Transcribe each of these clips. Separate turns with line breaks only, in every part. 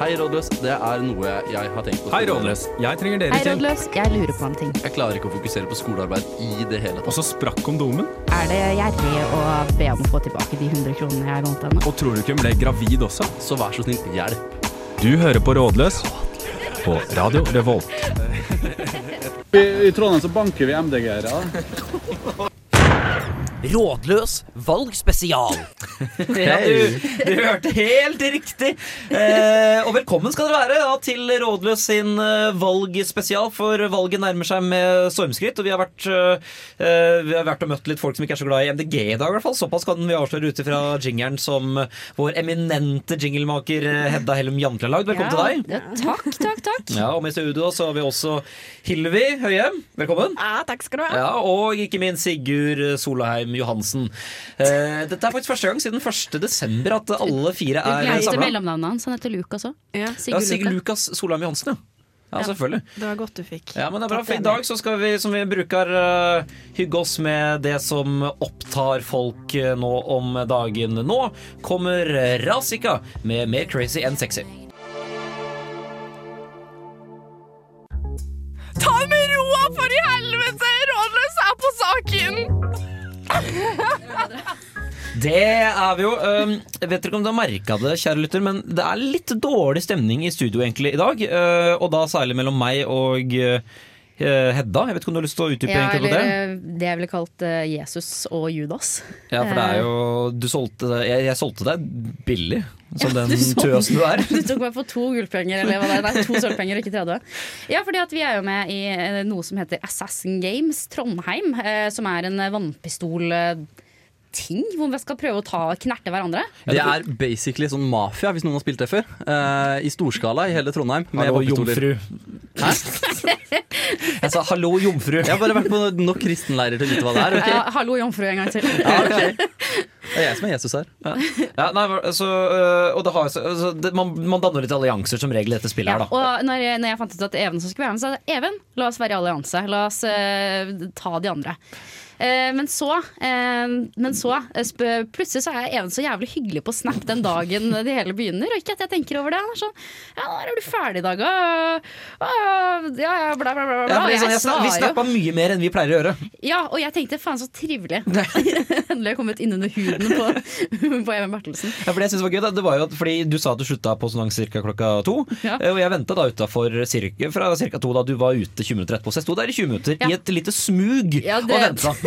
Hei, rådløs. Det er noe jeg har tenkt på.
Hei, Rådløs. Jeg trenger dere
Hei,
til.
rådløs. Jeg lurer på en ting.
Jeg klarer ikke å fokusere på skolearbeid i det hele
Og
tatt.
så sprakk kondomen.
Er det gjerrig å be om å få tilbake de 100 kronene jeg lånte henne?
Og tror du ikke hun ble gravid også?
Så vær så snill, hjelp.
Du hører på Rådløs på Radio Revolt.
I, i Trondheim så banker vi MDG-ere.
Rådløs valgspesial. ja, du, du hørte helt riktig. Eh, og velkommen skal dere være da, til Rådløs sin eh, valgspesial, for valget nærmer seg med stormskritt. Og vi har vært, eh, vi har vært og møtt litt folk som ikke er så glad i MDG i dag, i hvert fall. Såpass kan vi avsløre ut ifra jingeren som vår eminente jinglemaker eh, Hedda Hellum Jantle har lagd. Velkommen til deg.
Ja, takk, takk, takk.
Ja, og med i studio så har vi også Hilvi Høie. Velkommen.
Ja, takk skal du ha.
Ja, Og ikke minst Sigurd Solheim Johansen. Eh, dette er faktisk første gang siden 1. desember at alle fire
Du
er
glemte
samla.
mellomnavnet hans. Han heter Lukas òg.
Ja.
Ja,
Sigurd
Sigurd
Lukas.
Lukas Solheim Johansen, ja. Ja,
Ja.
selvfølgelig.
Det var godt du fikk.
Ja, men det er bra,
Tatt
for I
det
dag
med.
så skal vi, som vi bruker, eh, hygge oss med det som opptar folk eh, nå om dagen. Nå kommer Razika med mer crazy enn sexy.
Ta det med roa, for i helvete! Rådløs er på saken!
Det er vi jo. Um, jeg vet ikke om du har merka det, kjære lytter, men det er litt dårlig stemning i studio egentlig i dag. Uh, og da særlig mellom meg og uh, Hedda. Jeg vet ikke om du har lyst til å utdype
Ja,
egentlig
eller
på det?
eh, det jeg ville kalt eh, Jesus og Judas.
Ja, for det er jo Du solgte Jeg, jeg solgte deg billig, som
Ja,
den
du solgte-
tøsen du er.
Du tok meg for to gullpenger, eller hva det er. Nei, to sølvpenger, ikke 30. Ja, fordi at vi er jo med i eh, noe som heter Assassin Games Trondheim, eh, som er en eh, vannpistol... eh, Ting, hvor vi skal prøve å ta, knerte hverandre.
Det er basically sånn mafia, hvis noen har spilt det før. Eh, I storskala i hele Trondheim. Med
Hallo,
vannpistoler.
jomfru. Hæ? jeg sa hallo, jomfru.
Jeg har bare vært på nok kristenleirer til å vite hva det er. ok?
Ja, Eh, hallo, jomfru, en gang til.
Ja, ok. Det er jeg som er Jesus her.
Ja, nei, så, øh, og det har, så, så det, man, man danner litt allianser som regel i dette spillet
Ja,
her, da.
og når jeg, når jeg fant ut at Even som skulle være med, så sa jeg Even, la oss være i allianse. La oss eh, ta de andre. Eh, men så, eh, men så eh, sp- plutselig så er Even så jævlig hyggelig på Snap den dagen det hele begynner. Og ikke at jeg tenker over det. Han er sånn Ja, når er du ferdig i dag, da? Ja, ja, bla, bla, bla. bla.
Ja, for
Og
det er sånn,
jeg
jeg, sna-
svarer
vi
jo.
snappa mye mer enn vi pleier å gjøre.
Ja, og jeg tenkte faen så trivelig. Endelig har jeg kommet inn under huden på, på Even Bertelsen.
Ja, for det jeg synes var gøy da, det var jo at, fordi Du sa at du slutta på sånn cirka klokka to.
Ja.
eh, Og jeg venta utafor fra cirka to da du var ute 20 minutter etterpå. Så jeg sto der i 20 minutter
Ja.
i et lite smug
Ja, det-
og venta.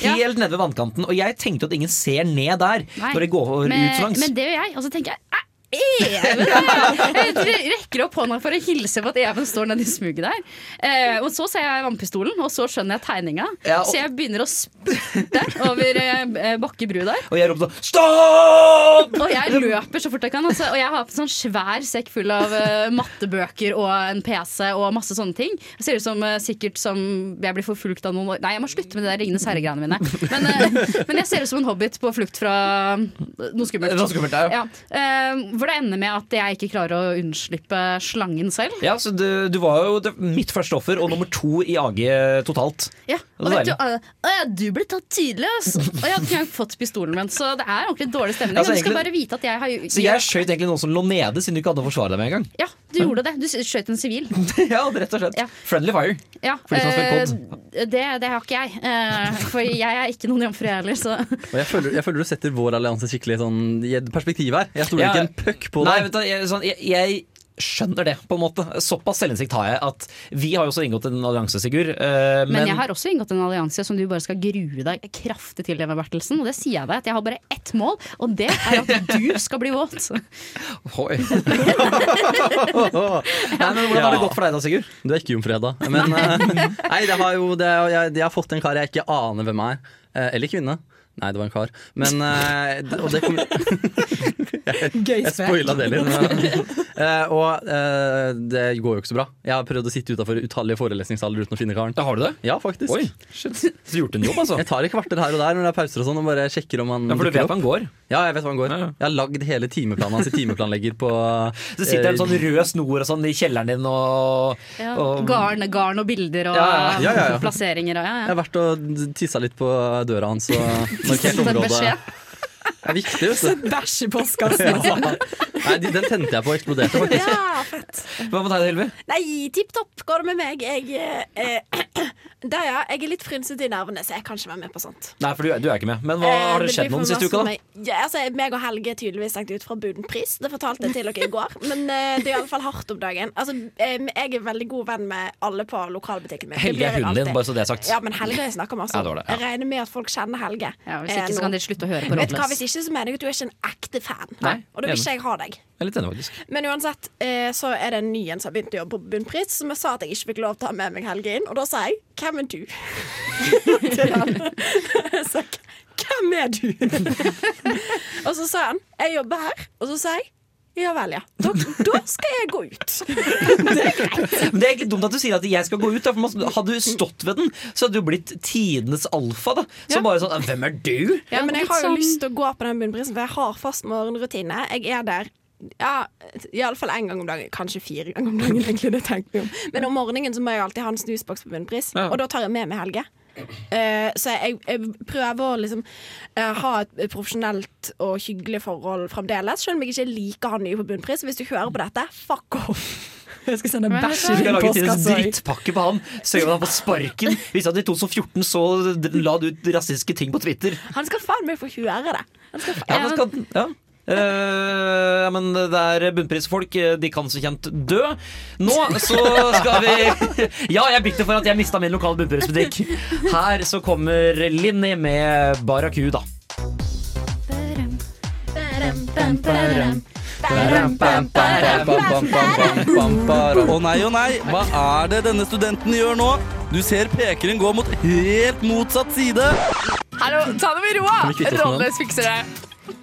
Ja.
Helt nede ved vannkanten. Og jeg tenkte jo at ingen ser ned der
Nei.
når de går
men,
ut langs.
Men det gjør jeg, og så tenker jeg "Æ, Even! Jeg re- rekker opp hånda for å hilse på at Even står nedi smuget der. Eh, og så ser jeg vannpistolen, og så skjønner jeg tegninga.
Ja, og-
Så jeg begynner å spytte over eh, Bakke bru der.
Og jeg ropte sånn Stopp!
Og jeg løper så fort jeg kan. Altså, og jeg har på sånn svær sekk full av eh, mattebøker og en PC og masse sånne ting. Jeg ser ut som eh, sikkert som jeg blir forfulgt av noen Nei, jeg må slutte med de der Ringenes herre-greiene mine. Men, eh, men jeg ser ut som en hobbit på flukt fra noe skummelt.
Noe skummelt, ja.
Eh, hvor det ender med at jeg ikke klarer å unnslippe slangen selv.
Ja, så du, du var jo det, mitt første offer og nummer to i AG totalt.
Ja, og
Det
vet
er
du, eh, å ja, du ble tatt tidlig, ass! Og jeg hadde ikke engang fått pistolen min, så det er ordentlig dårlig stemning.
Altså,
og du skal
egentlig-
bare vite at jeg har
Så jeg skjøt egentlig noen som lå nede, siden du ikke hadde å forsvare deg med engang.
Ja, du gjorde det. Du skjøt en sivil.
ja, rett og slett.
Ja.
Friendly fire.
Ja,
For de som har
eh,
spilt
det, det har ikke jeg. eh, for jeg er ikke noen jomfru, jeg heller. Så.
Og jeg føler, jeg føler du setter vår allianse skikkelig sånn, i et perspektiv her. Jeg stoler
Ja.
ikke en puck på
Nei,
deg.
vet du, jeg, sånn, jeg, jeg skjønner det, på en måte. Såpass selvinnsikt har jeg at vi har jo også inngått en allianse, Sigurd. eh,
Men, jeg har også inngått en allianse som du bare skal grue deg kraftig til, Eva Bertelsen. Og det sier jeg deg, at jeg har bare ett mål, og det er at du skal bli våt.
Oi. Nei, men Hvordan har det gått for deg da, Sigurd?
Du er ikke jomfru, Hedda. Men eh, nei, det har jo, det, er jo- jeg, jeg har fått en kar jeg ikke aner hvem er. Eh, Eller kvinne. Nei, det var en kar. Men eh, det- Og det kom Jeg, jeg spoila det litt. men- Eh, Og eh, det går jo ikke så bra. Jeg har prøvd å sitte utafor utallige forelesningssaler uten å finne karen.
Ja, har du det?
Ja, faktisk.
Oi, shit. Så du gjort en jobb, altså?
Jeg tar et kvarter her og der når det er pauser og sånn, og bare sjekker om han
Ja, For du
dukker
vet
opp.
han går.
Ja, jeg vet hvor han går.
Ja, ja.
Jeg har lagd hele timeplanen hans i timeplanlegger på
Så sitter det en
Eh,
sånn rød snor og sånn i kjelleren din og, og um,
Garn, garn og bilder og
Ja,
ja, ja, ja.
plasseringer og ja,
Jeg
ja.
har vært og tissa litt på døra hans og markert
Fått en
området.
beskjed.
Det er viktig, vet du.
altså.
Bæsj i postkassen.
Ja. Nei, de- Den tente jeg på og eksploderte. faktisk.
Ja, fett.
Hva med deg, Hilve?
Nei, tipp topp går det med meg. Jeg, eh, der, ja, jeg er litt frynsete i nervene, så jeg kan ikke være med på sånt.
Nei, for du, er- du er ikke med. Men hva
Eh,
har
det
det skjedd
blir
noen
for
siste
masse
uka, da?
meg- Ja, altså, meg og Helge er tydeligvis stengt ut fra Budenpris. Det fortalte jeg til dere i går. Men eh, det er iallfall hardt om dagen. Altså, eh, jeg er veldig god venn med alle på lokalbutikken min. Det
Helge
blir
er
jeg
hunden din,
alltid.
bare så det er sagt.
Ja, men Helge jeg snakker masse
Ja,
om.
det var
altså.
det, ja.
Jeg regner med at folk kjenner Helge.
Ja, hvis
eh,
ikke så
nå.
kan dere slutte å høre på
Vet du hva,
Rådløs.
Hvis ikke så mener jeg at du er ikke en ekte fan.
Nei,
og da vil
enig.
ikke jeg ha deg.
Jeg er litt enig, faktisk.
Men uansett eh, så er det en ny en som har begynt å jobbe på Bunnpris, som jeg sa at jeg ikke fikk lov til å ha med meg Helge inn. Og da sa jeg 'Hvem er du?' til han. Så jeg, hvem er du? og så sa han 'Jeg jobber her'. Og så sa jeg 'Ja vel, ja'. Da, da skal jeg gå ut.
Men Det er ikke dumt at du sier at jeg skal gå ut. Da, for man- hadde du stått ved den, så hadde du blitt tidenes alfa. da Så bare sånn Hvem er du?
Ja, men jeg har jo
litt sånn-
lyst til å gå på den bunnprisen, for jeg har fast morgenrutine. Jeg er der ja, iallfall én gang om dagen. Kanskje fire ganger om dagen. egentlig det tenkte jeg om Men om morgenen så må jeg alltid ha en snusboks på bunnpris,
Ja.
og da tar jeg med meg Helge. Eh, så jeg, jeg prøver å liksom eh, ha et profesjonelt og hyggelig forhold fremdeles. Selv om jeg ikke liker han nye på bunnpris. Hvis du hører på dette, fuck off! Jeg skal sende
Men vet du
bæsj
hva?
i
Skal lage tidenes
postkassa.
drittpakke på han. Søker han på sparken. Hvis han i 2014 så la du ut rasistiske ting på Twitter.
Han skal faen meg få høre det. Han skal
Ja, men, skal, ja. Eh, ja, men det er bunnprisfolk. eh, De kan så kjent dø. Nå så skal vi Ja, jeg er bitter for at jeg mista min lokale bunnprisbutikk. Her så kommer Linni med Barracuda.
Bam, bam, bam, bam, bam, bara. Å nei, å nei, hva er det denne studenten gjør nå? Du ser pekeren gå mot helt motsatt side.
Hallo, ta det med ro! da.
vi kvitte oss med den?
Rådløs fikser det.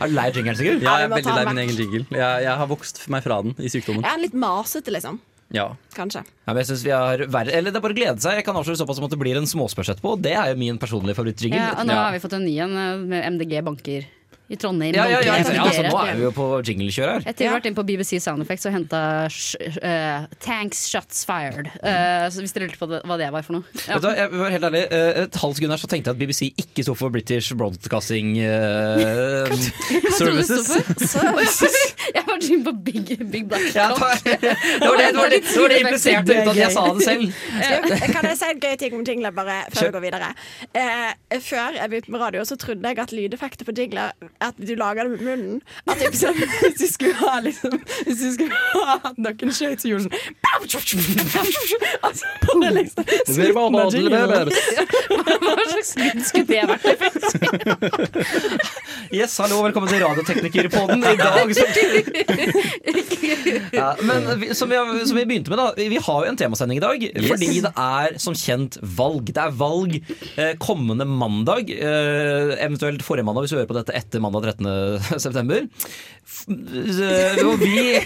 Er du lei jingeren, Sigurd?
Ja,
Ja,
jeg
vi
er
må ta
veldig lei
den
min egen jingle. Jeg, jeg har vokst meg fra den i sykdommen.
Jeg er litt masete, liksom.
Ja.
Kanskje.
Ja, men jeg synes vi har verre Eller det er bare å glede seg. Jeg kan avsløre såpass om at det blir en småspørs etterpå. og Det er jo min personlige favorittjingle.
Ja, og nå
Ja.
har vi fått en ny en eh, med MDG banker i Trondheim.
Ja, ja, ja,
Banker,
ikke sant? ja, altså,
banker.
nå er vi jo på jinglekjøret her.
Jeg har vært inn på BBC Sound Effects og henta eh, Tanks Shots Fired. Eh, så hvis dere lurte på det, hva det var for noe. Ja.
Vet du, hva, jeg var helt ærlig, eh, Et halvt sekund her så tenkte jeg at BBC ikke sto for British Broadcasting eh,
Hva trodde du det
Services.
sto for? Jeg har vært inne på Big, Big Black
ja, det,
Clock.
var, det, var det, det, var det, det var det jeg impliserte uten at jeg sa det selv.
Altså, Jeg kan jeg si en gøy ting om jingler bare før vi går videre? Eh, før jeg begynte med radio, så trodde jeg at lydeffekter på jingler At du lager det med munnen. At det er sånn, hvis du skulle ha liksom Hvis du skulle ha at noen skjøt, så gjorde du sånn Altså, det er liksom slutten av jinglen.
Hva slags lyd skulle det vært?
Yes, hallo, velkommen til Radioteknikerpodden i dag. Så, ja, men vi, som, vi, som vi begynte med, da. Vi har jo en temasending i dag. Fordi det er som kjent valg. Det er valg eh, kommende mandag. Eh, eventuelt forrige mandag, hvis du hører på dette etter mandag 13. september. F- eh, Og vi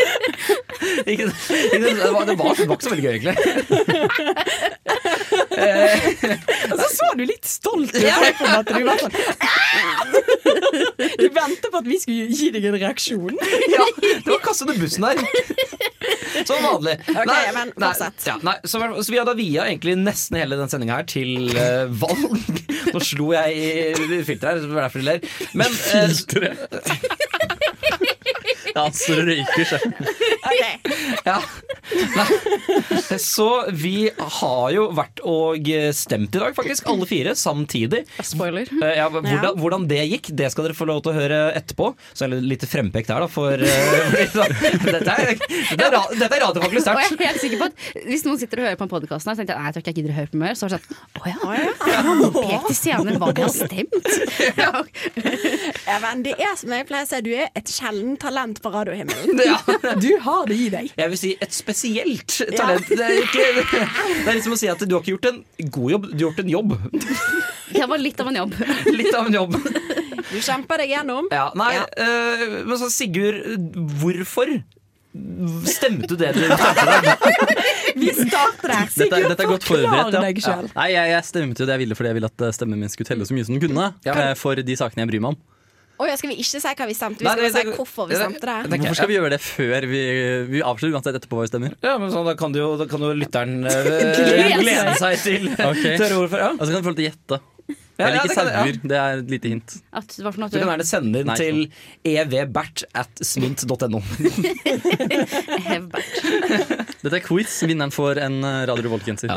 Ikke- ikke- Det var det var ikke så veldig gøy, egentlig.
Og så så du litt stolt ut. Ja. Du, var sånn, du ventet på at vi skulle gi deg en reaksjon.
Ja, det var kassa under bussen her. Som vanlig. Nei,
men
nei,
fortsett.
ja, nei, så, så vi har da via egentlig nesten hele den sendinga her til eh, valg. Nå slo jeg i filteret her, så det var derfor de ler. Men eh,
Ja, så det røyker seg.
Ok.
ja. Nei. Så vi har jo vært og stemt i dag, faktisk. Alle fire samtidig.
Spoiler.
Eh, Ja, hvordan, hvordan det gikk, det skal dere få lov til å høre etterpå. Så er det litt frempekt her, da, for eh, Dette er, dette er, ra- dette er radiofaglig
Og jeg
sterkt.
er helt sikker på at Hvis noen sitter og hører på en podkast og tenker jeg, nei, jeg tror ikke jeg gidder å høre på mer, så er det sånn Å ja, pek til stjerner hva de har stemt. Ja,
Ja, men det er som jeg pleier å si, du er et sjelden talent på radiohimmelen.
Ja.
Du har det i deg.
Jeg vil si et spesielt talent. Det, er ikke, det er liksom å si at du har ikke gjort en god jobb, du har gjort en jobb.
Det var litt av en jobb.
Litt av en jobb.
Du kjemper deg gjennom.
Ja, nei,
Ja.
eh, men så Sigurd, hvorfor stemte du det du stemte?
Vi starter
Dette,
der.
er-
Sigurd,
dette er godt
forklar
forberedt. Ja.
deg selv.
Nei, jeg, jeg stemte jo det jeg ville fordi jeg ville at eh, stemmen min skulle telle så mye som den kunne. eh, For de sakene jeg bryr meg om.
Å ja, skal vi ikke si hva vi stemte? Vi
Nei,
skal bare
det-
si
det-
hvorfor vi
det-
stemte det.
tenker jeg,
Hvorfor skal vi gjøre det før vi, vi avslører uansett etterpå hva vi stemmer?
Ja, men sånn, da kan jo, da kan jo lytteren eh,
Glede
glede seg til
Ok. Altså,
til å høre hvorfor. Ja.
Og så kan folk gjette. Jeg
Ja, ja,
liker
det kan- ja.
sauer. Det er et lite hint.
At, hva for noe at
Du kan gjerne sende den
Nei,
til evbert at smint.no.
Hevbert.
Dette er quiz. Vinneren får en eh, Radio Revolt-genser.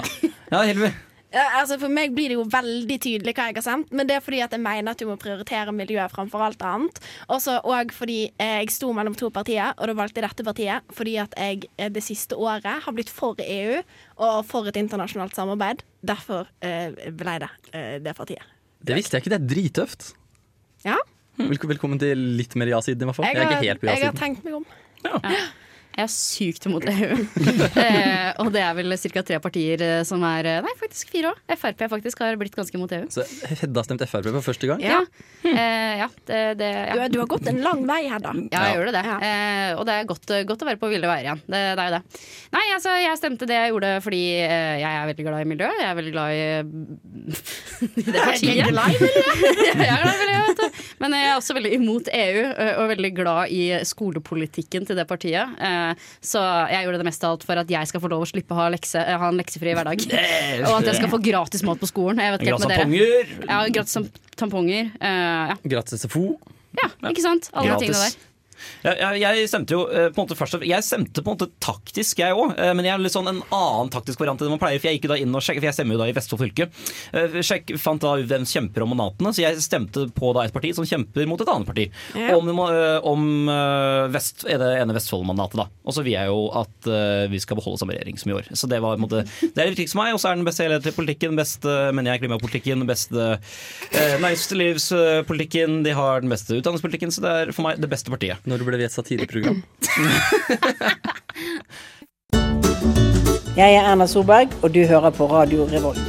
Ja, Hilvi.
Ja, altså For meg blir det jo veldig tydelig hva jeg har sendt, men det er fordi at jeg mener at du må prioritere miljøet framfor alt annet. Også, og fordi eh, jeg sto mellom to partier, og da valgte jeg dette partiet fordi at jeg eh, det siste året har blitt for EU og for et internasjonalt samarbeid. Derfor eh, ble det eh, det partiet.
Det visste jeg ikke. Det er drittøft.
Ja.
Velko- Velkommen til litt mer ja-siden, i hvert fall. Jeg er ikke helt på
jeg har
ja-siden.
tenkt meg om.
Jeg er sykt imot EU. eh, og det er vel ca. tre partier eh, som er eh, Nei, faktisk fire òg. Frp faktisk har blitt ganske imot EU.
Så Hedda stemte Frp for første gang.
Ja, eh, ja det, det
Du,
ja.
du har gått en lang vei her, da.
Ja, jeg gjør det. det.
Ja.
Eh, og det er godt, godt å være på ville veier igjen. Det, det er jo det. Nei, altså, jeg stemte det jeg gjorde fordi eh, jeg er veldig glad i miljø. Jeg er veldig glad i, i det partiet. Jeg er glad i miljø, vet du. Men jeg er også veldig imot EU, eh, og veldig glad i skolepolitikken til det partiet. Eh, så jeg gjorde det meste av alt for at jeg skal få lov å slippe å ha, lekse, eh, ha en leksefri hverdag. Og at jeg skal få gratis mat på skolen. Jeg vet ikke helt
Glass
med
av
dere.
Eh, ponger.
Ja, gratis tamponger. Eh, ja.
Gratis SFO.
ja, ikke sant? Alle de tingene der.
Gratis. Ja, jeg, jeg stemte jo eh, på en måte først og- Jeg stemte på en måte taktisk, jeg òg. Men jeg er litt sånn en annen taktisk variant enn man pleier. For jeg gikk jo da inn og sjekket, for jeg stemmer jo da i Vestfold fylke. Eh, Sjekk, fant da ut hvem som kjemper om mandatene, så jeg stemte på da et parti som kjemper mot et annet parti. Om, eh, om eh, vest, er det ene Vestfold-mandatet, da. Og så vil jeg jo at eh, vi skal beholde samme regjering som i år. Så det var på en måte Det er det viktigste for meg. Og så er den beste helhetlige politikken, beste mener jeg klimapolitikken, den beste eh, næringslivspolitikken, de har den beste utdanningspolitikken, så det er for meg det beste partiet.
Når ble vi et satireprogram?
Jeg er Erna Solberg, og du hører på Radio Revolt.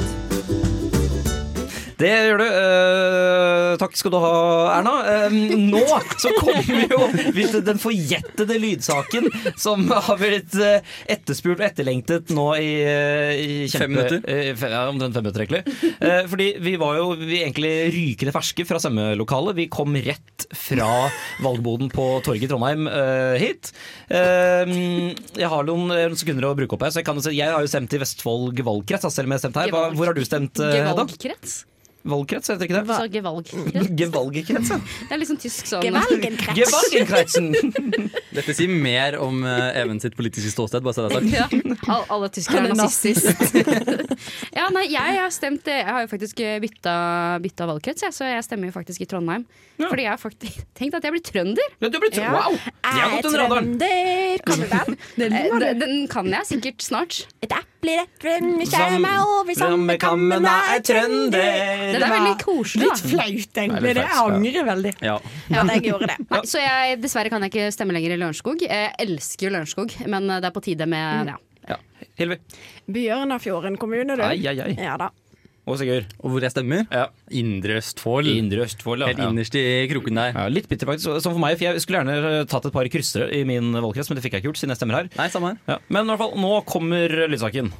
Det gjør du. Eh, takk skal du ha, Erna. Eh, nå så kommer jo vi til den forjettede lydsaken som har blitt eh, etterspurt og etterlengtet nå i, eh, i
Fem minutter.
eh, fe- ja, omtrent fem minutter, egentlig. Eh, fordi vi var jo vi egentlig rykende ferske fra stemmelokalet. Vi kom rett fra valgboden på torget i Trondheim eh, hit. Eh, jeg har noen eh, sekunder å bruke opp her, så jeg, kan, jo si- jeg har jo stemt i Vestfold valgkrets. da, Selv om jeg har stemt her. Hva, hvor har du stemt, eh, Hedda?
Gevalgkrets?
Valgkrets, heter ikke
Du
det?
sa gevalgkrets.
Gevalgekretsen.
Det er liksom tysk sånn.
Gevalgenkrets.
Gevalgenkretsen!
Dette sier mer om eh, Even sitt politiske ståsted. Bare så det er sagt.
Ja. Al- alle tyskere
Han
er
er
nazister. ja, nei, jeg har stemt eh, Jeg har jo faktisk bytta, bytta valgkrets, jeg, så jeg stemmer jo faktisk i Trondheim. Fordi jeg har faktisk tenkt at jeg blir trønder.
Men du ble tro- Wow! Jeg har gått under radaren.
trønder, kan du den?
Eh, Den, den kan jeg sikkert snart.
Et eple i rømme, skjærer meg over samme kammen, jeg er trønder.
Det er veldig koselig,
Litt
da.
flaut, egentlig.
Veldig
Det
flaut, ja.
angrer veldig.
Ja.
At jeg gjorde det.
Nei, så jeg, dessverre kan jeg ikke stemme lenger i Lørenskog. Jeg elsker jo Lørenskog, men eh, det er på tide med ja.
Hilvi.
Bjørnafjorden kommune, du.
Ai, ai, ai.
Ja da.
Og Sigurd.
Og hvor jeg stemmer?
Ja.
Indre Østfold.
I Mm. Indre Østfold,
Helt innerst i kroken der.
Ja, litt bitter faktisk, som for meg, for jeg skulle gjerne eh, tatt et par kryssere i min valgkrets, men det fikk jeg ikke gjort, siden jeg stemmer her.
Nei, samme her.
Ja. Men i hvert fall, nå kommer lydsaken.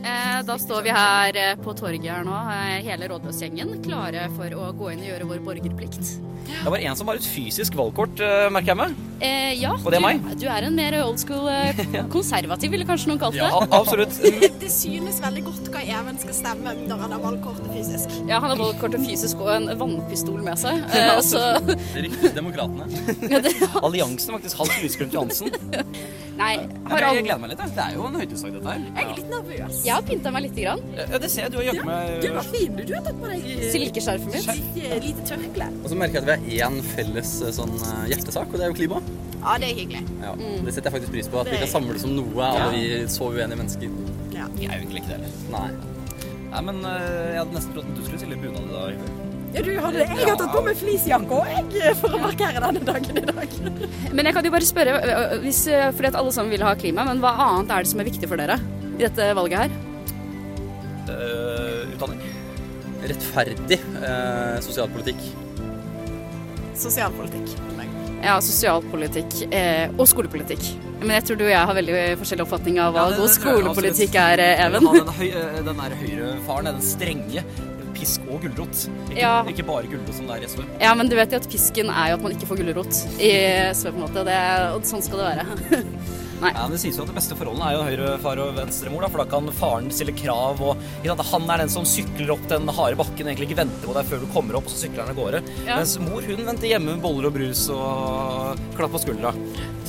Eh, Da står vi her eh, på torget her nå, eh, hele rådløsgjengen, klare for å gå inn og gjøre vår borgerplikt.
Det var en som har et fysisk valgkort, merker jeg meg.
Eh, ja,
Og det er
du,
meg.
du er en mer old school eh, konservativ, ville kanskje noen kalt det.
absolutt.
Det synes veldig godt hva Even skal stemme når han har valgkortet fysisk.
Ja, han har både kort og fysisk og en vannpistol med seg. Eh, så,
altså.
Riktig demokratene.
ja, det,
Alliansen, faktisk. Hans Lysglimt Johansen.
nei, har alle,
gleder meg litt. Det er jo en høydesak, dette her.
Jeg er litt nervøs.
jeg har pynta meg lite grann.
det ser jeg. Du har jaggu meg
fin du har tatt på deg.
Eh,
Silkeskjerfet mitt.
Lite tørkle.
Og så merker jeg at vi har én felles eh, sånn, eh, hjertesak, og det er jo klima.
Ja, det er hyggelig. Mm.
Ja. Det setter jeg faktisk pris på. At vi kan samles om noe, alle vi så uenige mennesker.
Jeg er jo egentlig ikke det heller.
Nei. eh,
Nei, men jeg hadde nesten trodd at du skulle stille bunad i dag.
Ja, du hadde det. Jeg har tatt på meg fleecejakke òg, jeg, for å markere denne dagen i dag.
Men jeg kan jo bare spørre, eh, hvis, eh, fordi at alle sammen vil ha klima, men hva annet er det som er viktig for dere i dette valget her?
eh, utdanning.
Rettferdig eh, sosialpolitikk.
Sosialpolitikk.
Ja, sosialpolitikk eh, og skolepolitikk. Men jeg tror du og jeg har veldig forskjellig oppfatning av hva
Ja,
god
det- altså, det tror jeg
skolepolitikk
absolutt.
er, eh, Even.
Han, den, høy, den der høyrefaren, den strenge. Pisk og gulrot. Ikke,
Ja.
ikke bare gulrot som det er i SV.
Ja, men du vet jo at pisken er jo at man ikke får gulrot i SV, på en måte. og Det, og sånn skal det være. Nei.
Ja, men Det sies jo at det beste forholdene er jo høyre far og venstre mor, da, for da kan faren stille krav. og ikke sant, Han er den som sykler opp den harde bakken, egentlig ikke venter på deg før du kommer opp, og så sykler han av gårde.
Ja.
Mens mor hun venter hjemme med boller og brus og klapp på skuldra.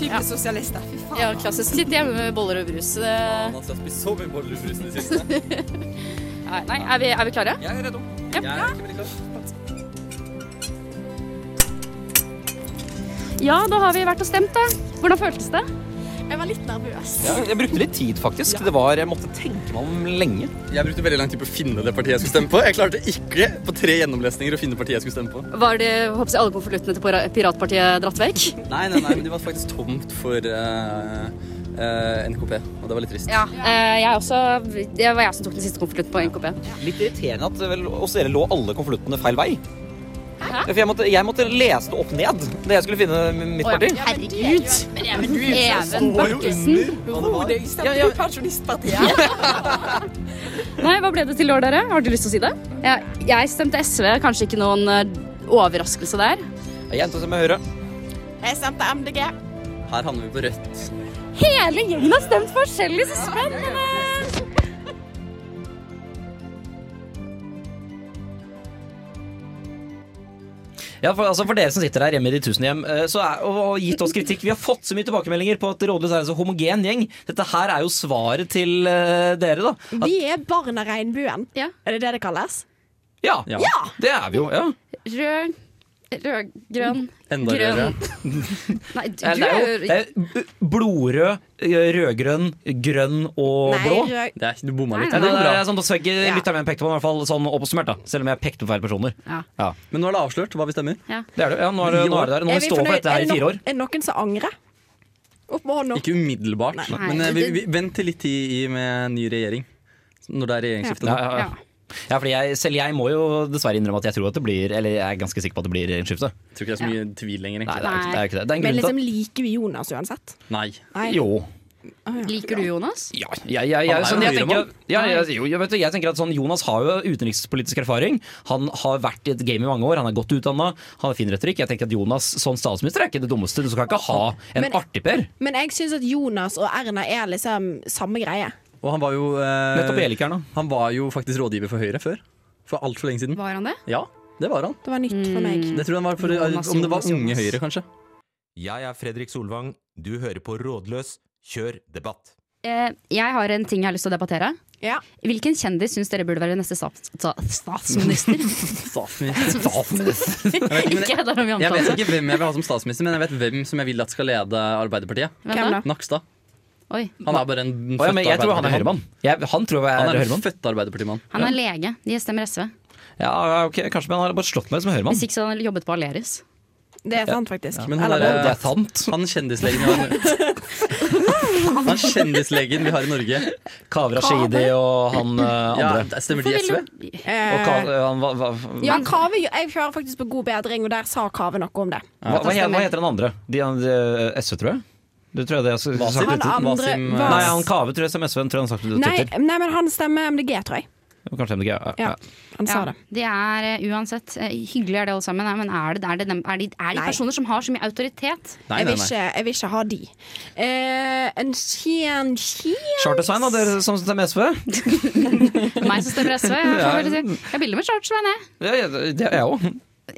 Type sosialister. Fy faen.
Ja, klassisk. Sitte hjemme med boller og brus. Eh,
har spist så mye boller og brus i det siste.
Nei, nei, er, vi, er vi klare?
Jeg er redd om.
Ja, da har vi vært og stemt, da. Hvordan føltes det?
Jeg var litt nervøs.
Ja, jeg brukte litt tid, faktisk. Det var, Jeg måtte tenke meg om lenge.
Jeg brukte veldig lang tid på å finne det partiet jeg skulle stemme på. Jeg klarte ikke på tre gjennomlesninger å finne partiet jeg skulle stemme på.
Var det håper jeg, alle konvoluttene til pira- piratpartiet dratt vekk?
Nei, nei, nei, men det var faktisk tomt for eh, eh, NKP, og det var litt trist.
Ja. eh, jeg også, det var jeg som tok den siste konvolutten på NKP.
Litt irriterende at vel hos dere lå alle konvoluttene feil vei. For jeg måtte, jeg måtte lese det opp ned da jeg skulle finne mitt
Å, ja.
parti.
Herregud! Even Bakkesen.
Hodet i stedet
Ja, ja.
for Pensjonistpartiet.
Nei, hva ble det til i år, dere? Har dere lyst til å si det? Jeg, jeg stemte SV. Kanskje ikke noen eh, overraskelse der.
Jeg endte opp med Høyre.
Jeg stemte MDG.
Her handler vi på rødt.
Hele gjengen har stemt forskjellig, så spennende!
Ja, for, altså, for dere som sitter her hjemme i de tusen hjem eh, så er, og, og gitt oss kritikk Vi har fått så mye tilbakemeldinger på at Rådløs er en så homogen gjeng. Dette her er jo svaret til eh, dere, da.
Vi er barn av regnbuen.
Ja.
Er det det det kalles?
Ja,
Ja.
det er vi jo. ja
Rød, rød, grønn,
Enda
grønn.
rødere.
Nei, du,
Det er, det er, jo, det
er
er jo blodrød, eh, rødgrønn, grønn og
Nei,
blå.
rød-
Det er, du bomma litt.
Ja,
men
det,
det går
det
bra.
er sånn Dessverre
Ja.
lytteren min pekte på, den, i hvert fall sånn oppsummert, da. Selv om jeg pekte på feil personer.
Ja.
Men nå er det avslørt hva vi stemmer.
Det er det. Ja, nå er det, nå er det der. Nå må vi
Er vi
stå for
fornøyd-
dette her
er
i
det
fire
no-
år.
Er det noen som angrer? Opp med hånda.
Ikke umiddelbart,
Nei.
men eh, vi,
Det-
vi, vent til litt tid i med ny regjering. Når det er regjeringsskifte.
Ja,
nå.
ja, ja.
Ja.
ja fordi jeg, selv jeg må jo dessverre innrømme at jeg tror at det blir Eller jeg er ganske sikker på at det blir regjeringsskifte.
Jeg tror ikke det er så mye tvil lenger,
Nei,
egentlig.
det er jo ikke det. Er jo ikke det. det er en
Men
grunn
liksom
til
liker vi Jonas uansett?
Nei.
at Jo.
Liker du Jonas?
Ja, jeg, jeg, jeg,
er jo
sånn, jeg, tenker,
høyremann.
at- ja, jeg, jo, jeg, vet, du, jeg tenker at sånn, Jonas har jo utenrikspolitisk erfaring. Han har vært i et game i mange år, han er godt utdanna, han har fin retorikk. Jeg tenker at Jonas som statsminister er ikke det dummeste. Du skal ikke ha en
Men-
artigper.
Men jeg syns at Jonas og Erna er liksom samme greie.
Og han var jo eh,
Nettopp jeg liker han, da.
Han var jo faktisk rådgiver for Høyre før. For altfor lenge siden.
Var han det?
Ja, det var han.
Det var nytt for meg.
Det tror jeg han var for,
Jonas,
Om det var
Jonas,
Unge
Jonas.
Høyre, kanskje.
Jeg er Fredrik Solvang. Du hører på Rådløs. Kjør debatt.
Eh, jeg har en ting jeg har lyst til å debattere.
Ja.
Hvilken kjendis syns dere burde være neste stats sta statsminister?
Statsminister.
ikke Hedda Romi
Jeg vet
Johansen.
ikke hvem jeg vil ha som statsminister, men jeg vet hvem som jeg vil at skal lede Arbeiderpartiet.
Hvem da? Nakstad.
Nakstad.
Oi.
Han er bare en
Å, ja, men jeg tror han er høyremann. Jeg, han tror jeg
Han er
er,
en
høyremann.
født arbeiderpartimann.
Han er lege. De stemmer SV.
Ja, ok, Kanskje, men han har bare slått meg som høyremann.
Hvis ikke så hadde han jobbet på Aleris.
Det er sant, faktisk.
Men han
Eller
er-
noe.
Det er sant.
Han kjendislegen vi har Han kjendislegen vi har i Norge.
Kavra Shidi og han eh,
Ja,
andre.
stemmer de i SV?
Og Ka,
Eh,
han, hva, hva,
ja, Kave, jeg hører faktisk på God bedring, og der sa Kave noe om det.
hva, hva, he- hva heter den andre? De, han- eh, SV, tror jeg? Du tror jeg det jeg skulle
Hva sier
sagt
du eh,
Han
ut?
til- hva
andre
sier-
var-
Nei, han Kave tror jeg som SV-en tror jeg han har sagt det på
Nei,
Twitter.
nei, men han stemmer MDG, tror jeg.
Kanskje MDG. Ja.
Ja,
Ja.
han sa det.
de er eh, uansett eh, Hyggelig er det alle sammen, eh, men er det, er det, dem, er de, er de
Nei.
personer som har så mye autoritet?
Nei,
Jeg
nei, nei.
vil ikke, jeg vil ikke ha de. Eh, en kjen... kjen-
Charter-Svein, da, dere som stemmer SV?
Meg som stemmer SV. Jeg, får vel si. jeg har bilder med shorts, Svein. jeg.
Ja, ja, det er jeg òg.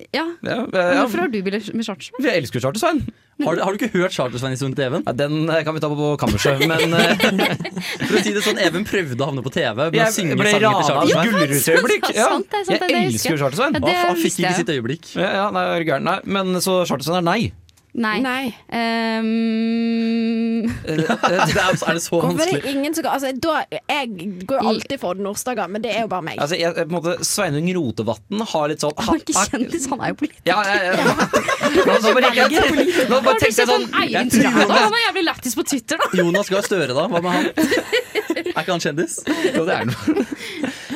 Ja.
Ja, eh, ja.
Hvorfor har du bilder med shorts?
Vi elsker Charter-Svein.
Har, du- har du ikke hørt Charter-Svein-historien til Even?
Ja, den eh, kan vi ta på kammerset, men eh,
For å si det sånn, Even prøvde å havne på TV med å synge
jeg ble
sanger til
rana av
Charter-Svein.
gullrusøyeblikk.
sant, sant, det er sant, det er
jeg
det jeg
elsker
husker.
Charter-Svein.
Hva faen,
Det
fikk
visste
ikke
jeg.
sitt øyeblikk.
Ja, ja, nei, er du gæren? Nei, men så Chartersen er nei.
Nei.
Nei.
Ehm,
Eh,
Det er, altså, er det så
Hvorfor er
vanskelig?
det ingen som altså, da, Jeg går jo alltid for den Norsdaga, men det er jo bare meg.
Altså, jeg, jeg- på en måte, Sveinung Rotevatn har litt sånn
han er ikke kjendis, han er jo politiker.
Ja, ja, ja. Nå, nå, bare, jeg, jeg, nå bare
Har du
tenkte jeg
sett
sånn
han
jeg
Eivind
tror
Braut?
han er-
Han er jævlig lættis på Twitter, da.
Jonas Gahr Støre, da? Hva med han? Er ikke han kjendis?
Jo, det er noe.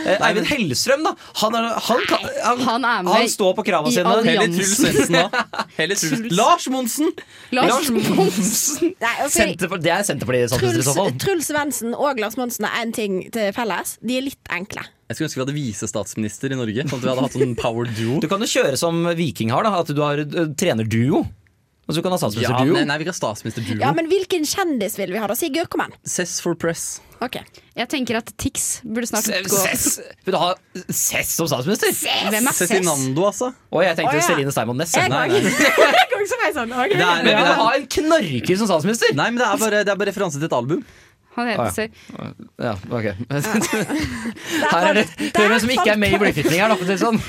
Eh, Eivind Hellstrøm, da. Han, er, han, kan, han,
han er med
han står på krava
i
sine.
all
Heller
Jansen.
Truls Svendsen, da. Heller Truls. Lars Monsen!
Lars
Monsen.
Nei, altså,
Senterpar- Det er Senterpartiet som i så fall.
Truls, Truls Svendsen og Lars Monsen har én ting til felles. De er litt enkle.
Jeg skulle ønske vi hadde visestatsminister i Norge. Sånn at vi hadde hatt sånn power duo.
Du kan jo kjøre som Viking har, da. At du har eh, trenerduo. Men så kan du ha
Ja,
statsministerduo.
nei, nei, vi kan ha statsministerduo.
Ja, men hvilken kjendis vil vi ha da? Sigurd, kom an.
Cess for press.
Ok.
Jeg tenker at Tix burde snart gå
Sess! Vil du ha Sess som statsminister?
Hvem er Cess?
Cezinando, altså.
Og jeg tenkte
Å, ja.
Celine Steinmann Næss.
Jeg
Nei,
òg.
nei.
Jeg òg som er sånn. ok.
Det er-
Men vil du ha en knarker som statsminister?
Nei, men det er bare, det er bare referanse til et album.
Han heter
Ja, ok Her er det Hør hvem som ikke er med i blyfytring her, da. for å si det Sånn.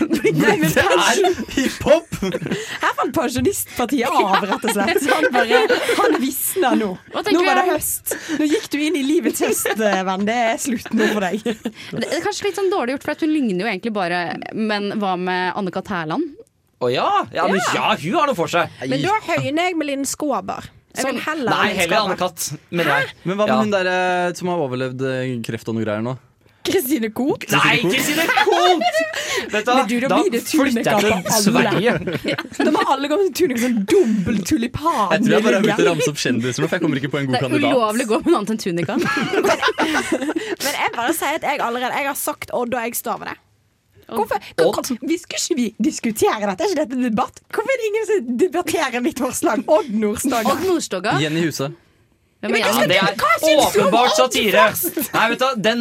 Nei, men pensjon-
Hiphop!
Her fant Pensjonistpartiet av, rett og slett. Så Han bare, han visna nå.
Hva tenker
Nå var det
vi om-
høst. Nå gikk du inn i livets høst, eh, venn. Det er slutt nå for deg.
Det er kanskje litt sånn dårlig gjort, for at hun ligner jo egentlig bare Men hva med Anne-Kat. Hærland?
Å ja. Ja, men ja, hun har noe for seg.
Men da høyner jeg med Linn Skåber. Jeg vil Sånn. heller ha
Nei,
Linn
heller
Skåber.
Anne-Kat. Men jeg.
Men hva med
Ja.
hun der eh, som har overlevd eh, kreft og noe greier nå?
Kristine Koht.
Nei, ikke si det kont! Vet du hva,
Men du, da
da
blir det
flytter jeg
Tunekamp
til
alle.
Sverige.
Da må alle komme til tuning som dobbel tulipan.
Jeg tror jeg bare har begynt å
Men
ramse opp kjendiser nå, for jeg kommer ikke på en
Det
god
er
kandidat.
ulovlig å gå med noe annet enn tunika.
jeg bare sier at jeg allerede Jeg har sagt Odd, og jeg står ved det. Hvorfor?
Odd?
vi skulle ikke vi diskutere dette? Er ikke dette debatt? Hvorfor er det ingen som debatterer mitt forslag? Odd Nordstoga.
Odd Nordstoga.
Jenny Huse.
Hvem er
Ja,
Jenny?
det er åpenbart satire. Nei, vet du, hva, den,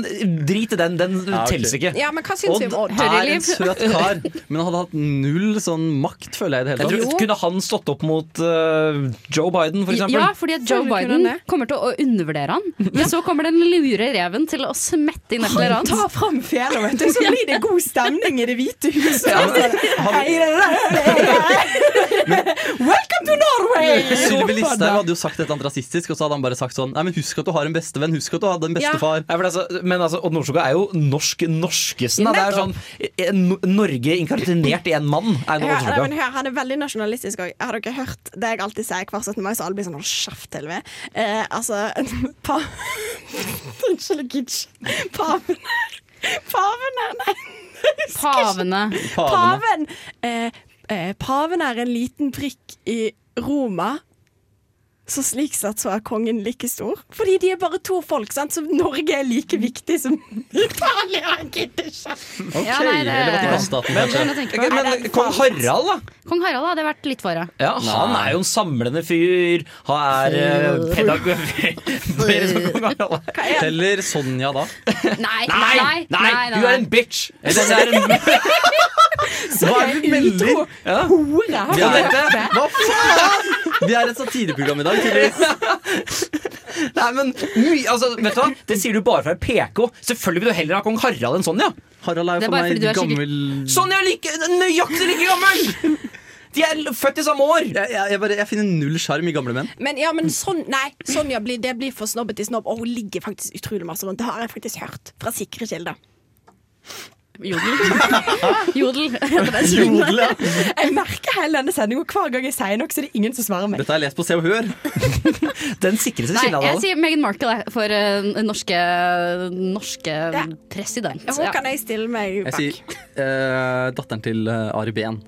Drit i den. Den
Ja, ok.
telles ikke.
Ja, men hva syns vi om Odd?
Hører
er
liv.
en søt kar, men han hadde hatt null sånn makt, føler jeg. i det
Jeg
hele
tror,
tatt
kunne han stått opp mot øh, Joe Biden, for eksempel?
Ja, fordi at Joe
Føler du ikke
Biden
det?
kommer til å undervurdere han. Men så kommer den lure reven til å smette inn et eller
Ta
annet.
fram fjæra, vet du, så blir det god stemning i Det hvite huset. Welcome to Norway!
Sylvi Listhaug hadde jo sagt et eller annet rasistisk, og så hadde han bare sagt sånn Nei, men husk at du har en bestevenn, husk at du hadde en bestefar.
Nei, for det er altså, men altså, Odd Nordstoga er jo norsk-norskesen. da. Det er jo sånn eh, no- Norge inkartinert i en mann. Er jo Odd
Hør, nei, men
Nordstoga.
hør, han er veldig nasjonalistisk òg. Har dere hørt det jeg alltid sier hver 17. mai, så alle blir sånn «Hold kjeft til meg? Eh, altså pa Unnskyld, kitsch. Paven Paven er Nei.
Pavene.
Pavene.
Paven eh, eh, Paven er en liten prikk i Roma. Så slik sett så er kongen like stor. Fordi de er bare to folk, sant? så Norge er like viktig som Italia. Jeg gidder ikke.
Ok,
Ja, nei, det-
eller Vatikanstaten, kanskje.
Skjønner å tenke på.
Men kong Harald, da?
Kong Harald hadde vært litt for.
Ja, Han er jo en samlende fyr. Han er uh, pedagog... Bedre som kong Harald er.
Eller Sonja, da.
Nei,
Nei, nei, du er en bitch! Eller det er en
Hva er vi melder?
ja.
Vi
Og
er,
dette,
hva faen? Vi er et satireprogram i dag, tydeligvis.
Nei, men my, altså, vet du hva? Det sier du bare fra PK. Selvfølgelig vil du heller ha kong Harald enn Sonja.
Harald er
Det
jo
er
for
bare
meg
fordi du er skikkelig-
gammel
Sonja er like, nøyaktig like gammel! De er l- født i samme år!
jeg, jeg, jeg, bare, jeg finner null sjarm i gamle menn.
Men ja, men sånn, nei, Sonja blir, det blir for snobbet i snobb, og hun ligger faktisk utrolig masse rundt. Det har jeg faktisk hørt fra sikre kilder.
Jodel. Jodel.
Jodel, ja.
Jeg merker hele denne sendingen, og hver gang jeg sier noe, så er det ingen som svarer meg.
Dette har jeg lest på Se og Hør.
Den sikreste
Nei,
kilden av
jeg
alle.
sier Meghan Markle jeg, for eh, norske, norske president.
Hvor
Ja.
kan jeg stille meg
Jeg
bak?
sier eh, datteren til eh, Ari Behn.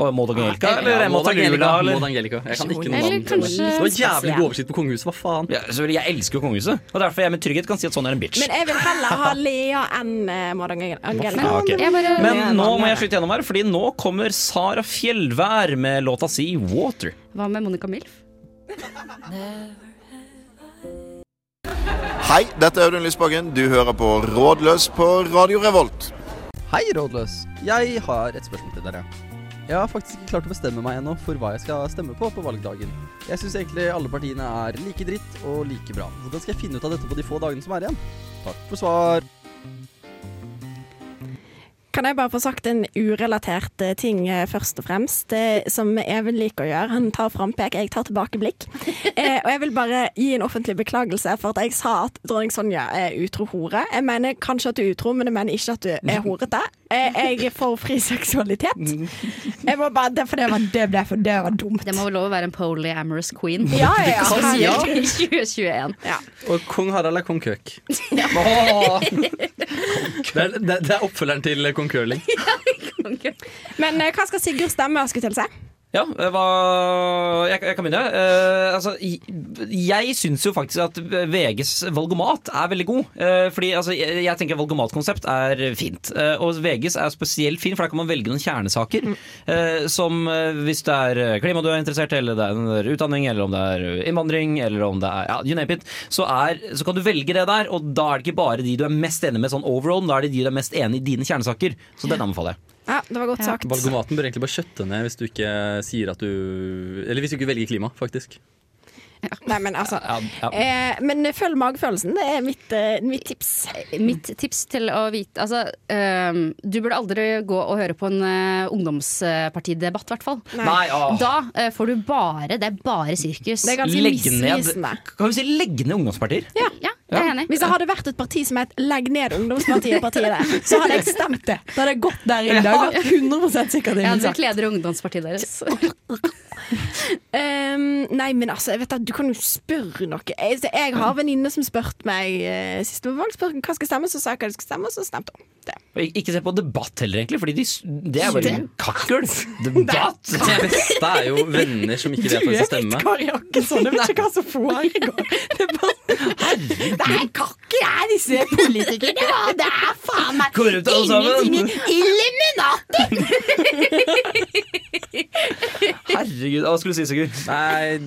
Og Maud Angelica, eller
Ja,
Maud Angelica,
Maud
eller?
Angelica. Jeg kan ikke noe
Eller
navn.
kanskje
Det var jævlig
spesiell.
god oversikt på kongehuset, hva faen?
Ja, selvfølgelig, jeg elsker jo kongehuset, og derfor jeg med trygghet kan si at Sonja er en bitch.
Men jeg vil heller ha Lea enn eh, Maud Angelica.
Ja,
Ah,
ok.
Jeg bare,
Men nå må jeg slutte gjennom her, Fordi nå kommer Sara Fjellvær med låta si 'Water'.
Hva med Monica Milf?
Hei, dette er Audun Lysbakken. Du hører på Rådløs på Radio Revolt.
Hei, Rådløs. Jeg har et spørsmål til dere. Jeg har faktisk ikke klart å bestemme meg ennå for hva jeg skal stemme på på valgdagen. Jeg syns egentlig alle partiene er like dritt og like bra. Hvordan skal jeg finne ut av dette på de få dagene som er igjen? Takk for svar.
Kan jeg bare få sagt en urelatert eh, ting eh, først og fremst, eh, som Even liker å gjøre. Han tar frampek, jeg tar tilbakeblikk. Eh, og jeg vil bare gi en offentlig beklagelse for at jeg sa at dronning Sonja er utro hore. Jeg mener kanskje at du er utro, men jeg mener ikke at du er horete. Eh, jeg er for fri seksualitet. Jeg må bare, det, for det, var, det, ble for, Mm. det var dumt.
Det må vel lov å være en polyamorous queen.
Ja, ja, ja.
Som sier
Ja.
2021.
Og kong Harald er kong køk. Det er, det, det er oppfølgeren til kong curling.
Men eh, hva skal Sigurd stemme? skulle jeg til å si?
Ja, eh, hva, jeg, jeg kan begynne. Eh, altså, jeg jeg syns jo faktisk at VGs valgomat er veldig god. Eh, fordi altså, jeg, jeg tenker valgomatkonsept er fint. Eh, og VGs er spesielt fin, for der kan man velge noen kjernesaker. eh, som eh, hvis det er eh, klima du er interessert i, eller det er en eh, utdanning, eller om det er eh, innvandring, eller om det er ja, you name it, så, er, så kan du velge det der. Og da er det ikke bare de du er mest enig med sånn overall, men da er det de du er mest enig i dine kjernesaker. Så den anbefaler jeg.
Ja, det var godt sagt.
Valgomaten bør egentlig bare kjøtte ned hvis du ikke sier at du Eller hvis du ikke velger klima, faktisk.
Nei, men altså
Ja, ja.
eh, Men følg magefølelsen. Det er mitt, eh, mitt tips.
Mitt tips til å vite Altså, øhm, du burde aldri gå og høre på en øh, ungdomspartidebatt, i hvert fall.
Nei. Nei, åh.
Da øh, får du bare Det er bare sirkus.
Det er ganske
Legg ned,
misvisende.
kan vi si legge ned ungdomspartier?
Ja.
Ja, jeg er enig.
Hvis det hadde vært et parti som het 'Legg ned ungdomspartiet', partiet der, så hadde jeg stemt det. Da hadde jeg gått der i dag. vært 100 sikker
Jeg hadde
sak.
vært leder i ungdomspartiet deres.
Ehm, nei, men altså, jeg vet at du kan jo spørre noe. Jeg, så jeg har venninne som spurte meg eh, sist på valg, spurte hva skal stemme, så sa jeg hva det skulle stemme, og så stemte hun. Det.
Og ik- Ikke se på debatt heller, egentlig, Fordi de, s- det er bare
Debatt.
kakkel. Debatt!
Det beste er jo venner som ikke vet hva de skal stemme.
Kari Jakkesson, jeg vet ikke hva som foregår. Det er bare Det er kakker her, disse politikerne. Ja, Det er faen meg
Korrupt alle sammen.
Illuminati!
Herregud, hva skulle du si, Sigurd?
Nei,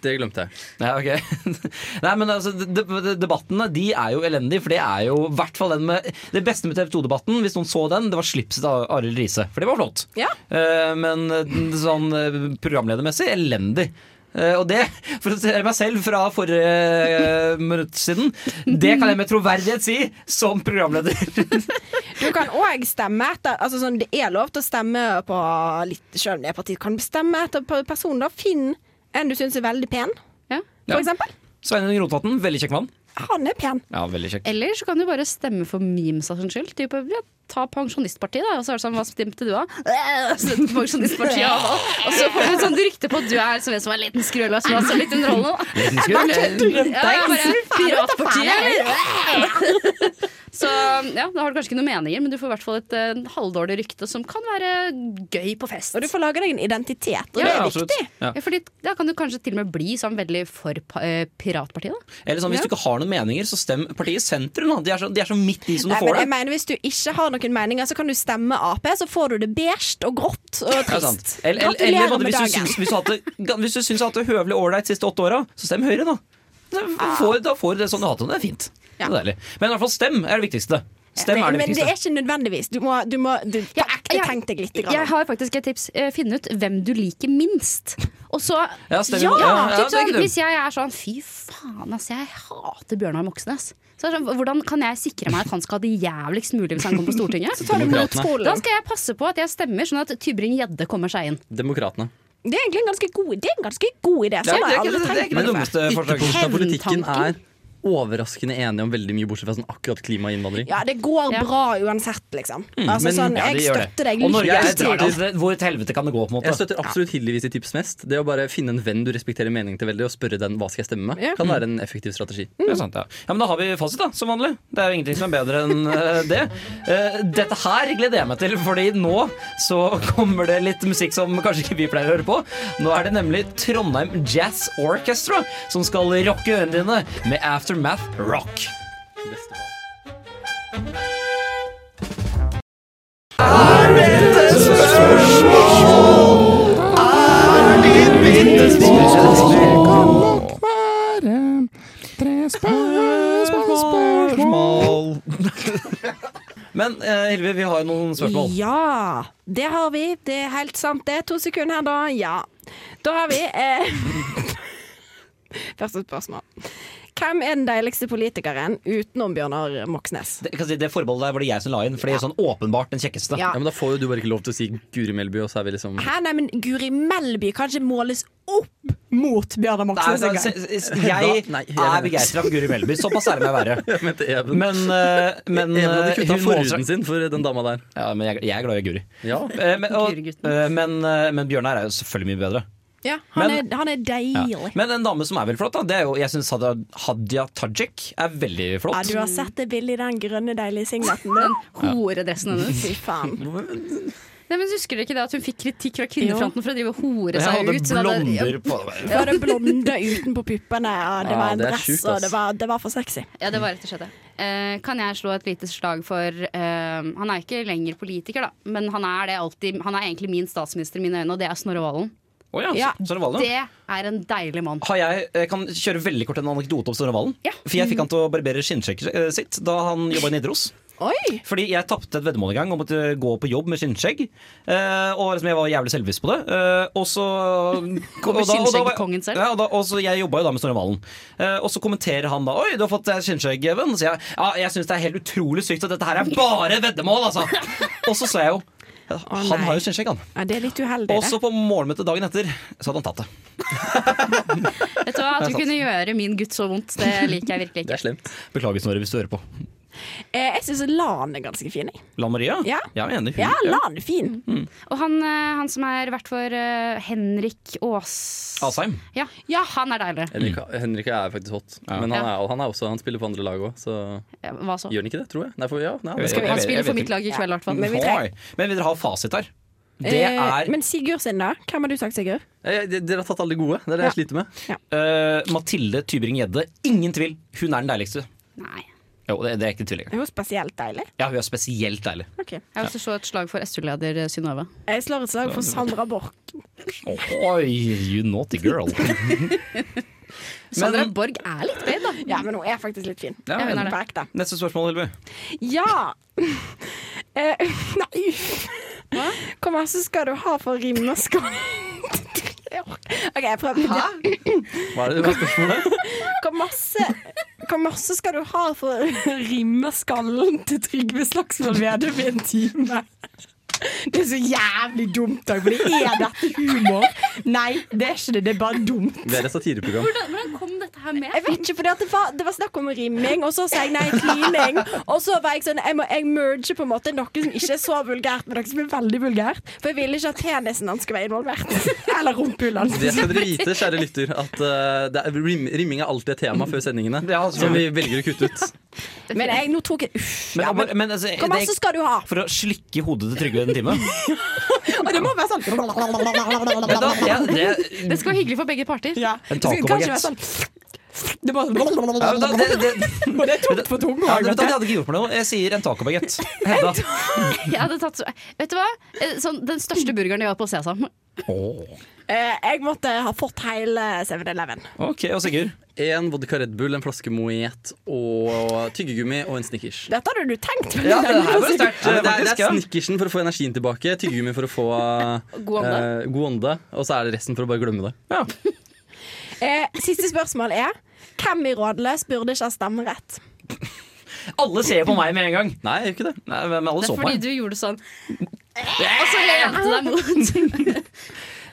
det glemte jeg.
Ja, ok Nei, men altså, de, de, Debattene de er jo elendige, for det er jo i hvert fall den med Det beste med TV 2-debatten, hvis noen så den, det var slipset av Arild Riise. For det var flott.
Ja.
Eh, men eh, sånn eh, programledermessig elendig. Eh, og det, for å se meg selv fra forrige eh, minutt siden, det kan jeg med troverdighet si som programleder.
Du kan òg stemme etter altså sånn, Det er lov til å stemme på litt Selv om det er partiet. Du kan bestemme etter per- person. Da. Finn en du syns er veldig pen,
Ja.
Ja.
for eksempel.
Sveinung Rotevatn, veldig kjekk mann.
Han er pen.
Ja, veldig kjekk.
Eller så kan du bare stemme for memes av sin skyld. Type, ja, ta Pensjonistpartiet, da. Og så er det sånn, hva stemte du, da? Øh, stemte på Pensjonistpartiet av alt. Og så får du et sånt rykte på at du er som en som er en liten skrøla som er så litt underholdende. da. Ja, ja, bare Piratpartiet, eller? Så ja, da har du kanskje ikke noen meninger, men du får i hvert fall et eh, halvdårlig rykte som kan være gøy på fest.
Og du får lage deg en identitet, og
Ja,
det er
absolutt.
viktig.
Ja.
Ja, fordi da kan du kanskje til og med bli sånn veldig for pa- eh, piratpartiet, da.
Eller sånn, Hvis du ikke har noen meninger, så stem partiet sentrum. Da. De, er så, de er så midt i som du
Nei, men
får
jeg
det.
mener Hvis du ikke har noen meninger, så kan du stemme Ap. Så får du det beige og grått og
Ja, sant.
trist.
Eller, eller, eller,
Gratulerer
Madde,
med
hvis, du
dagen.
syns, hvis, du har hatt det- hvis du syns du har hatt det høvelig ålreit de siste åtte åra, så stem Høyre, da. Da
Ah.
får, da får du det sånn du har hatt det. Det er fint.
Ja.
Det er deilig. Men i hvert fall stem er det viktigste. Stem er det
men det er
viktigste.
ikke nødvendigvis. Du må, du må du, på
Ja,
ekte
jeg-
tenk deg litt. Grann.
Jeg har faktisk et tips. Eh, Finn ut hvem du liker minst. Og så
Ja, stemmer.
Ja,
Ja, ja,
typ
det er ikke
sånn,
dumt.
Hvis jeg er sånn Fy faen, ass, jeg hater Bjørnar Moxnes. Så er det sånn, hvordan kan jeg sikre meg at han skal ha det jævligst mulig hvis han kommer på Stortinget?
Ta det mot
Demokratene.
skolen.
Da skal jeg passe på at jeg stemmer, sånn at Tybring-Gjedde kommer seg inn.
Demokratene.
Det er egentlig en ganske god, det er en ganske god idé.
Ja,
Sånn
det er
har jeg
ikke-
aldri
det er ikke
tenkt på
det
det før.
dummeste forslaget.
Ytterpunktet av politikken er
Hevntanken.
overraskende enige om veldig mye, bortsett fra sånn akkurat klima og innvandring.
Ja, det går
Ja.
bra uansett, liksom. Altså
men-
sånn,
Mm, Ja, det
jeg
gjør det.
støtter deg
Og Norge
Jeg
er et
støtter-
rart sted. Hvor til helvete kan det gå? på en måte
Jeg støtter absolutt Hillevis i tips mest. Det å bare finne en venn du respekterer meningen til veldig, og spørre den hva skal jeg stemme med, kan være en effektiv strategi.
Det er sant, ja. ja, men Da har vi fasit, da, som vanlig. Det er jo ingenting som er bedre enn eh, det. Eh, dette her gleder jeg meg til, Fordi nå så kommer det litt musikk som kanskje ikke vi pleier å høre på. Nå er det nemlig Trondheim Jazz Orchestra som skal rocke ørene dine med Aftermath Rock. Men eh, Hilvi, vi har jo noen spørsmål.
Ja, det har vi. Det er helt sant, det. To sekunder her, da. Ja. Da har vi eh, Første spørsmål. Hvem er den deiligste politikeren utenom Bjørnar Moxnes?
Det, jeg kan si, det forbeholdet der var det jeg som la inn, for det er sånn åpenbart den kjekkeste.
Ja.
Ja, men Da får jo du bare ikke lov til å si Guri Melby, og så er vi liksom
Hæ, nei, men Guri Melby kan ikke måles opp mot Bjørnar
Nei, altså,
Moxnes.
så,
engang.
så- så- jeg
Da- nei, jeg
er
mener-
begeistra for Guri Melby. Såpass er det med å være.
Jeg mente Even.
Men, eh, men
Even hadde
eh,
kutta
hun måler seg-
forhuden sin for den dama der.
Ja, men jeg, jeg er glad i Guri.
Ja.
Eh, men, og,
Gurugutten.
eh, men, eh, men Bjørnar er jo selvfølgelig mye bedre.
Ja, han,
Men-
er, han er deilig.
Men en dame som er veldig flott, da, det er jo jeg syns Hadia, Hadia Tajik er veldig flott.
Ja, du har sett det bildet i den grønne, deilige singleten din.
Horedressen hennes.
Fy faen.
Nei, men Husker dere ikke det at hun fikk kritikk fra kvinnefronten for å drive og hore
Jeg
seg
hadde
ut? Hun hadde-
blonder på meg.
Ja, det blonde utenpå puppene, og det
Ja,
var en
det er
dress,
sjukt,
og
ass.
det var, det var for sexy.
Ja, det var rett og slett det. Eh, kan jeg slå et lite slag for eh, Han er ikke lenger politiker, da, men han er, det alltid, han er egentlig min statsminister i mine øyne, og det er Snorre Valen.
Å ja, Snorre Valen,
Det
ja.
er en deilig mann.
Har jeg, jeg kan kjøre veldig kort en anekdote om Snorre Valen. For jeg fikk han til å barbere skinnskjegget eh, sitt da han jobba i Nidaros. Fordi jeg tapte et veddemål en gang om å gå på jobb med skinnskjegg. eh, og liksom jeg var jævlig selvbevisst på det. eh, og så
Gå med
og da- og da var-
skinnskjeggkongen selv.
Ja, og, da, og så Jeg jobba jo da med Snorre Valen. Eh, og så kommenterer han da Oi, du har fått deg skinnskjegg, Even. Så jeg ja, jeg syns det er helt utrolig sykt at dette her er bare veddemål, altså. og så sa jeg jo Han har jo skinnskjegg, han.
Ja, det er litt uheldig,
Og så på morgenmøtet dagen etter så hadde han tatt det.
Vet du hva, At
Det
du
er
kunne gjøre min gutt så vondt, det liker jeg virkelig ikke.
Beklager, Snorre, hvis du hører på.
Eh, jeg syns Lan er ganske fin, jeg.
Lan Maria?
Ja.
Jeg er enig. Hun-
Ja, Lan er fin.
Mm,
Og han, eh, han som er vert for eh, Henrik Aas...
Asheim.
Ja. han er deilig.
Henrik, Henrik er faktisk hot, men han, er, han, er også, han spiller på andre lag òg, så
Ja, hva så?
Gjør han ikke det, tror jeg? Nei, for, ja, nei,
Jeg vet-
det-
jeg vet- jeg
for
vet
mitt
ikke.
lag i kveld, i hvert fall.
Men vi
Oi.
trenger-
Men vil dere ha fasit her? Det
Eh,
er
Men Sigurd sin, da? Hvem har du sagt, Sigurd?
Eh, de- Dere har tatt alle de gode. Det er det jeg sliter med.
eh, Mathilde Tybring-Gjedde. Ingen tvil, hun er den deiligste.
Nei.
Jo, det, det er ikke tvil engang.
Er hun spesielt deilig?
Ja, hun er spesielt deilig.
Ok.
Jeg vil også slå et slag for SU-leder Synnøve.
Jeg slår et slag for Sandra Borch.
Oi, you naughty girl.
Sandra
Men-
Borg er litt babe, da.
Ja, men hun er faktisk litt fin.
Ja,
hun
hun
er på ekte.
Neste spørsmål, Hilvi.
Ja! Eh, nei, uff. Hvor mye skal du ha for rimnaskål? OK, jeg prøver.
Hva er det hva er spørsmålet?
Hvor masse, hvor masse skal du ha for å rimme skallen til Trygve Slagsvold Vedum i en time? Det er så jævlig dumt. da, Fordi er dette humor? Nei, det er ikke det. Det er bare dumt.
Det er et satireprogram.
Hvordan, hvordan kom dette her med?
Jeg vet ikke, fordi at det, var, det var snakk om rimming, og så sa jeg nei, klining. Og så var jeg sånn Jeg, må, jeg merger på en måte noe som ikke er så vulgært, men noe som er veldig vulgært. For jeg ville ikke at penisen hans skulle være involvert. Eller rumpehullet hans.
Det skal dere vite, kjære lytter, at eh, det er, rim, rimming er alltid et tema før sendingene.
altså.
Som vi velger å kutte ut.
Men jeg, nå tok jeg Uff.
Men,
Ja, men,
men altså,
hvor masse
det,
skal du ha?
for å slikke hodet til Trygve en time?
Og det må være sånn
Men da, ja, det,
Det skal være hyggelig for begge parter.
Ja.
En
Det skal kanskje være
taco-baguette.
sånn det var sånn
ja, men da, det, det,
Og det er tomt på tunga.
ja, men da, det hadde ikke gjort meg noe. Jeg sier en tacobagett. Hedda.
Jeg hadde tatt, så- vet du hva? Eh, Sånn, den største burgeren jeg var på altså. Sesam.
Eh, jeg måtte ha fått hele 7-Eleven.
Ok, og Sigurd.
En vodka Red Bull, en flaske Moet og tyggegummi og en Snickers.
Dette hadde du tenkt. på.
Ja, det her var sterkt.
Ja, men det,
eh,
er, det
faktisk,
er
ja.
snickersen for å få energien tilbake, tyggegummi for å få eh,
God ånde.
eh, god ånde, og så er det resten for å bare glemme det.
Eh, siste spørsmål er hvem i Rådløs burde ikke ha stemmerett?
Alle ser på meg med en gang.
Nei, jeg gjør ikke det.
Nei, men alle
Det er
så på
fordi
meg.
du gjorde sånn Og så lente deg mot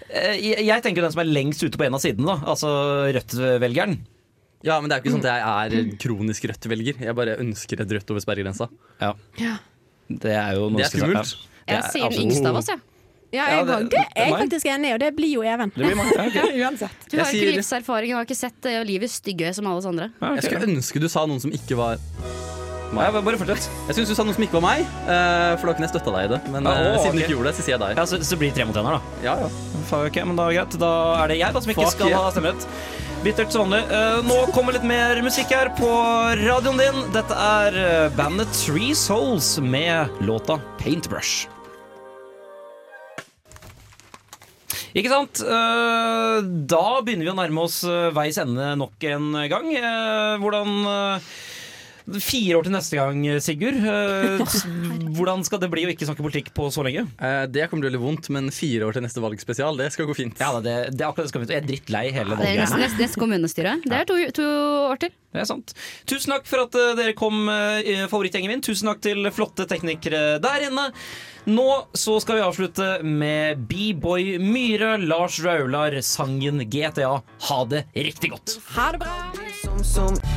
Eh, Jeg, jeg tenker den som er lengst ute på en av sidene, da. Altså Rødt-velgeren.
Ja, men det er jo ikke sånn at jeg er kronisk Rødt-velger. Jeg bare ønsker et Rødt over sperregrensa.
Ja. Det er jo noe
Det er
som-
skummelt.
Ja. Det er
Jeg sier den
absolutt-
yngste av oss, jeg.
Ja,
Ja,
jeg,
det-
var ikke- jeg er
nei.
faktisk enig, og det blir jo Even.
Det blir mange. Ja, ok.
Uansett.
Du har
Jeg
jo
sier-
ikke livserfaring og har ikke sett eh, livet i stygge øye som alle oss andre.
Ja, ok.
Jeg skulle ønske du sa noen som ikke var
Nei, bare- bare fortsett.
Jeg syns du sa noe som ikke var meg, eh, for da kunne jeg støtta deg i det. Men
Ja,
eh,
å,
siden du
ok.
ikke gjorde det, så sier jeg deg.
Ja, så, så blir det tre mot én her, da.
Ja, ja.
Fuck, ok, men Da er det greit. Da er det jeg da som ikke
Fuck,
skal
yeah.
ha stemmerett. Bittert som vanlig. Eh, nå kommer litt mer musikk her på radioen din. Dette er eh, bandet Three Souls med låta Paintbrush. Ikke sant? Eh, Da begynner vi å nærme oss eh, veis ende nok en gang. Eh, Hvordan eh, Fire år til neste gang, Sigurd. Eh, s- Hvordan skal det bli å ikke snakke politikk på så lenge?
Eh, det kommer til å gjøre litt vondt, men fire år til neste valgspesial, det skal gå fint.
Ja, da, det, det er akkurat det skal vi Jeg er drittlei hele
Det er
valget.
neste, neste, neste kommunestyre. Det er to, to år til.
Det er sant. Tusen takk for at eh, dere kom, eh, favorittgjengen min. Tusen takk til flotte teknikere der inne. Nå så skal vi avslutte med B-boy Myhre, Lars Raular, sangen GTA. Ha det riktig godt.
Ha det bra.